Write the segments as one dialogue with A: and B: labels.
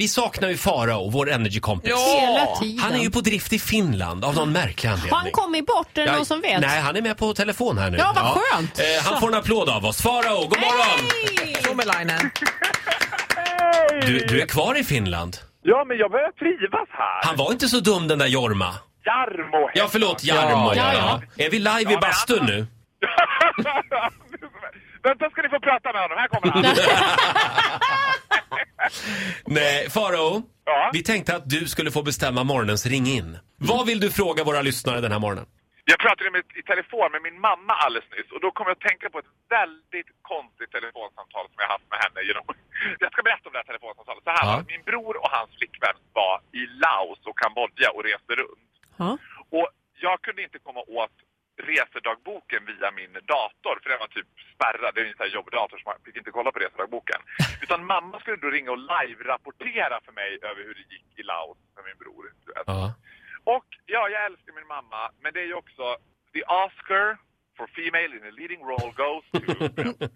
A: Vi saknar ju Farao, vår energikompis.
B: Hela tiden.
A: Han är ju på drift i Finland av någon märklig anledning.
B: Har han kommit bort? Är det
A: Ja,
B: någon som vet?
A: Nej, han är med på telefon här nu.
B: Ja, vad skönt.
A: Eh, han får en applåd av oss. Farao, god morgon!
C: Tomelainen.
D: Hej!
A: Du, du är kvar i Finland.
D: Ja, men jag börjar trivas här.
A: Han var inte så dum den där Jorma.
D: Jarmo heter
A: Ja, förlåt, Jarmo.
B: Ja,
A: Ja,
B: ja.
A: Är vi live i
D: men
A: bastun
D: han-
A: nu?
D: han. Vänta ska ni få prata med honom. Här kommer han.
A: Nej, Farao.
D: Ja.
A: Vi tänkte att du skulle få bestämma morgonens ring in. Vad vill du fråga våra lyssnare den här morgonen?
D: Jag pratade med, i telefon med min mamma alldeles nyss och då kom jag att tänka på ett väldigt konstigt telefonsamtal som jag haft med henne genom... Jag ska berätta om det här telefonsamtalet. Så här
A: Ja.
D: var det. Min bror och hans flickvän var i Laos och Kambodja och reste runt.
B: Ja.
D: Och jag kunde inte komma åt resedagboken via min dator, för den var typ spärrad. Det är en sån här jobbdator så man fick inte kolla på resedagboken. Utan mamma skulle då ringa och live-rapportera för mig över hur det gick i Laos med min bror. Du vet.
A: Ja.
D: Och ja, jag älskar min mamma, men det är ju också the Oscar for female in a leading role goes to...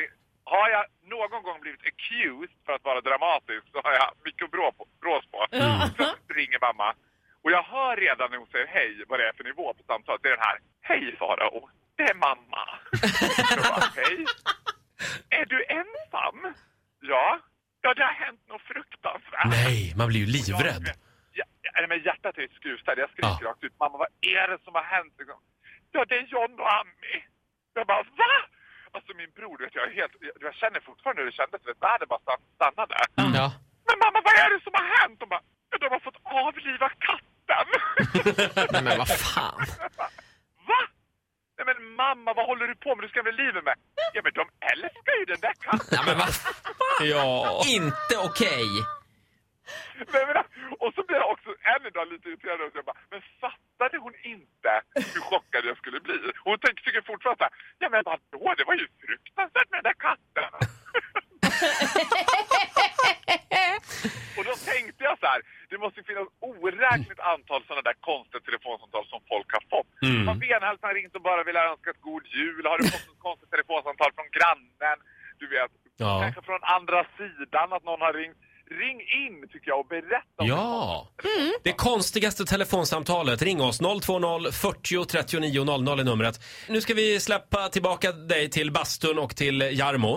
D: Det- har jag någon gång blivit accused för att vara dramatisk så har jag mycket brås på. Brås på. Plötsligt ringer mamma och jag hör redan när hon säger hej vad det är för nivå på samtalet. Det är den här, hej Farao, det är mamma. Jag bara, hej. Är du ensam? Ja. Ja, det har hänt något fruktansvärt.
A: Nej, man blir ju
D: Jag-
A: livrädd.
D: Ja, ja, men hjärtat är skrutat. Jag skriker
A: Ja.
D: rakt ut. Mamma, vad är det som har hänt? Liksom. Ja, det är John och Ami. Jag bara, va? Alltså min bror, du vet, jag, är helt, jag, jag känner fortfarande hur det kändes. du Vet, världen bara stann- stannade.
A: Ja.
D: Men mamma, vad är det som har hänt? De bara, ja, de har fått avliva katten.
C: Nej men vad fan.
D: va? Nej men mamma, vad håller du på med? Du skrämmer livet med. Ja men de älskar ju den där katten.
C: Nej men vad
A: Ja.
C: Inte okej.
D: Men, men, och så blir jag också än idag lite irriterad och jag bara, men fattade hon inte hur chockad jag skulle bli? Hon tänker tycker fortfarande så här, ja men vadå, det var ju fruktansvärt med den där katten. och då tänkte jag så här, det måste ju finnas oräkneligt antal sådana där konstiga telefonsamtal som folk har fått.
A: Mm.
D: Man Venhals har ringt och bara vill ha önskat god jul, har du fått ett konstigt telefonsamtal från grannen? Du vet,
A: Ja.
D: kanske från andra sidan att någon har ringt. Ring in tycker jag och berätta om
A: Ja. Det konstigaste telefonsamtalet. Ring oss. 020 40 39 00 är numret. Nu ska vi släppa tillbaka dig till bastun och till Jarmo.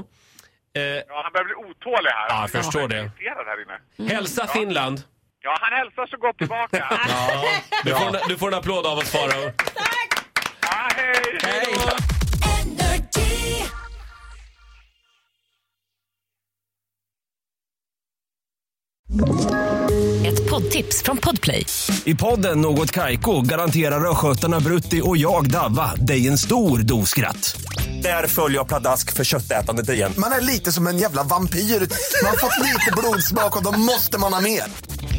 A: Eh,
D: Ja, han börjar bli otålig här.
A: Ja, jag förstår det.
D: Han är irriterad här inne.
A: Mm. hälsa Finland.
D: Ja, han hälsar så gott tillbaka. ja,
A: Du får, en- du får en applåd av oss, Farao.
D: hej!
C: Hej.
E: Ett poddtips från Podplay.
F: I podden Något Kaiko garanterar östgötarna Brutti och jag, Davva, dig en stor dos skratt. Där följer jag pladask för köttätandet igen.
G: Man är lite som en jävla vampyr. Man har fått lite blodsmak och då måste man ha mer.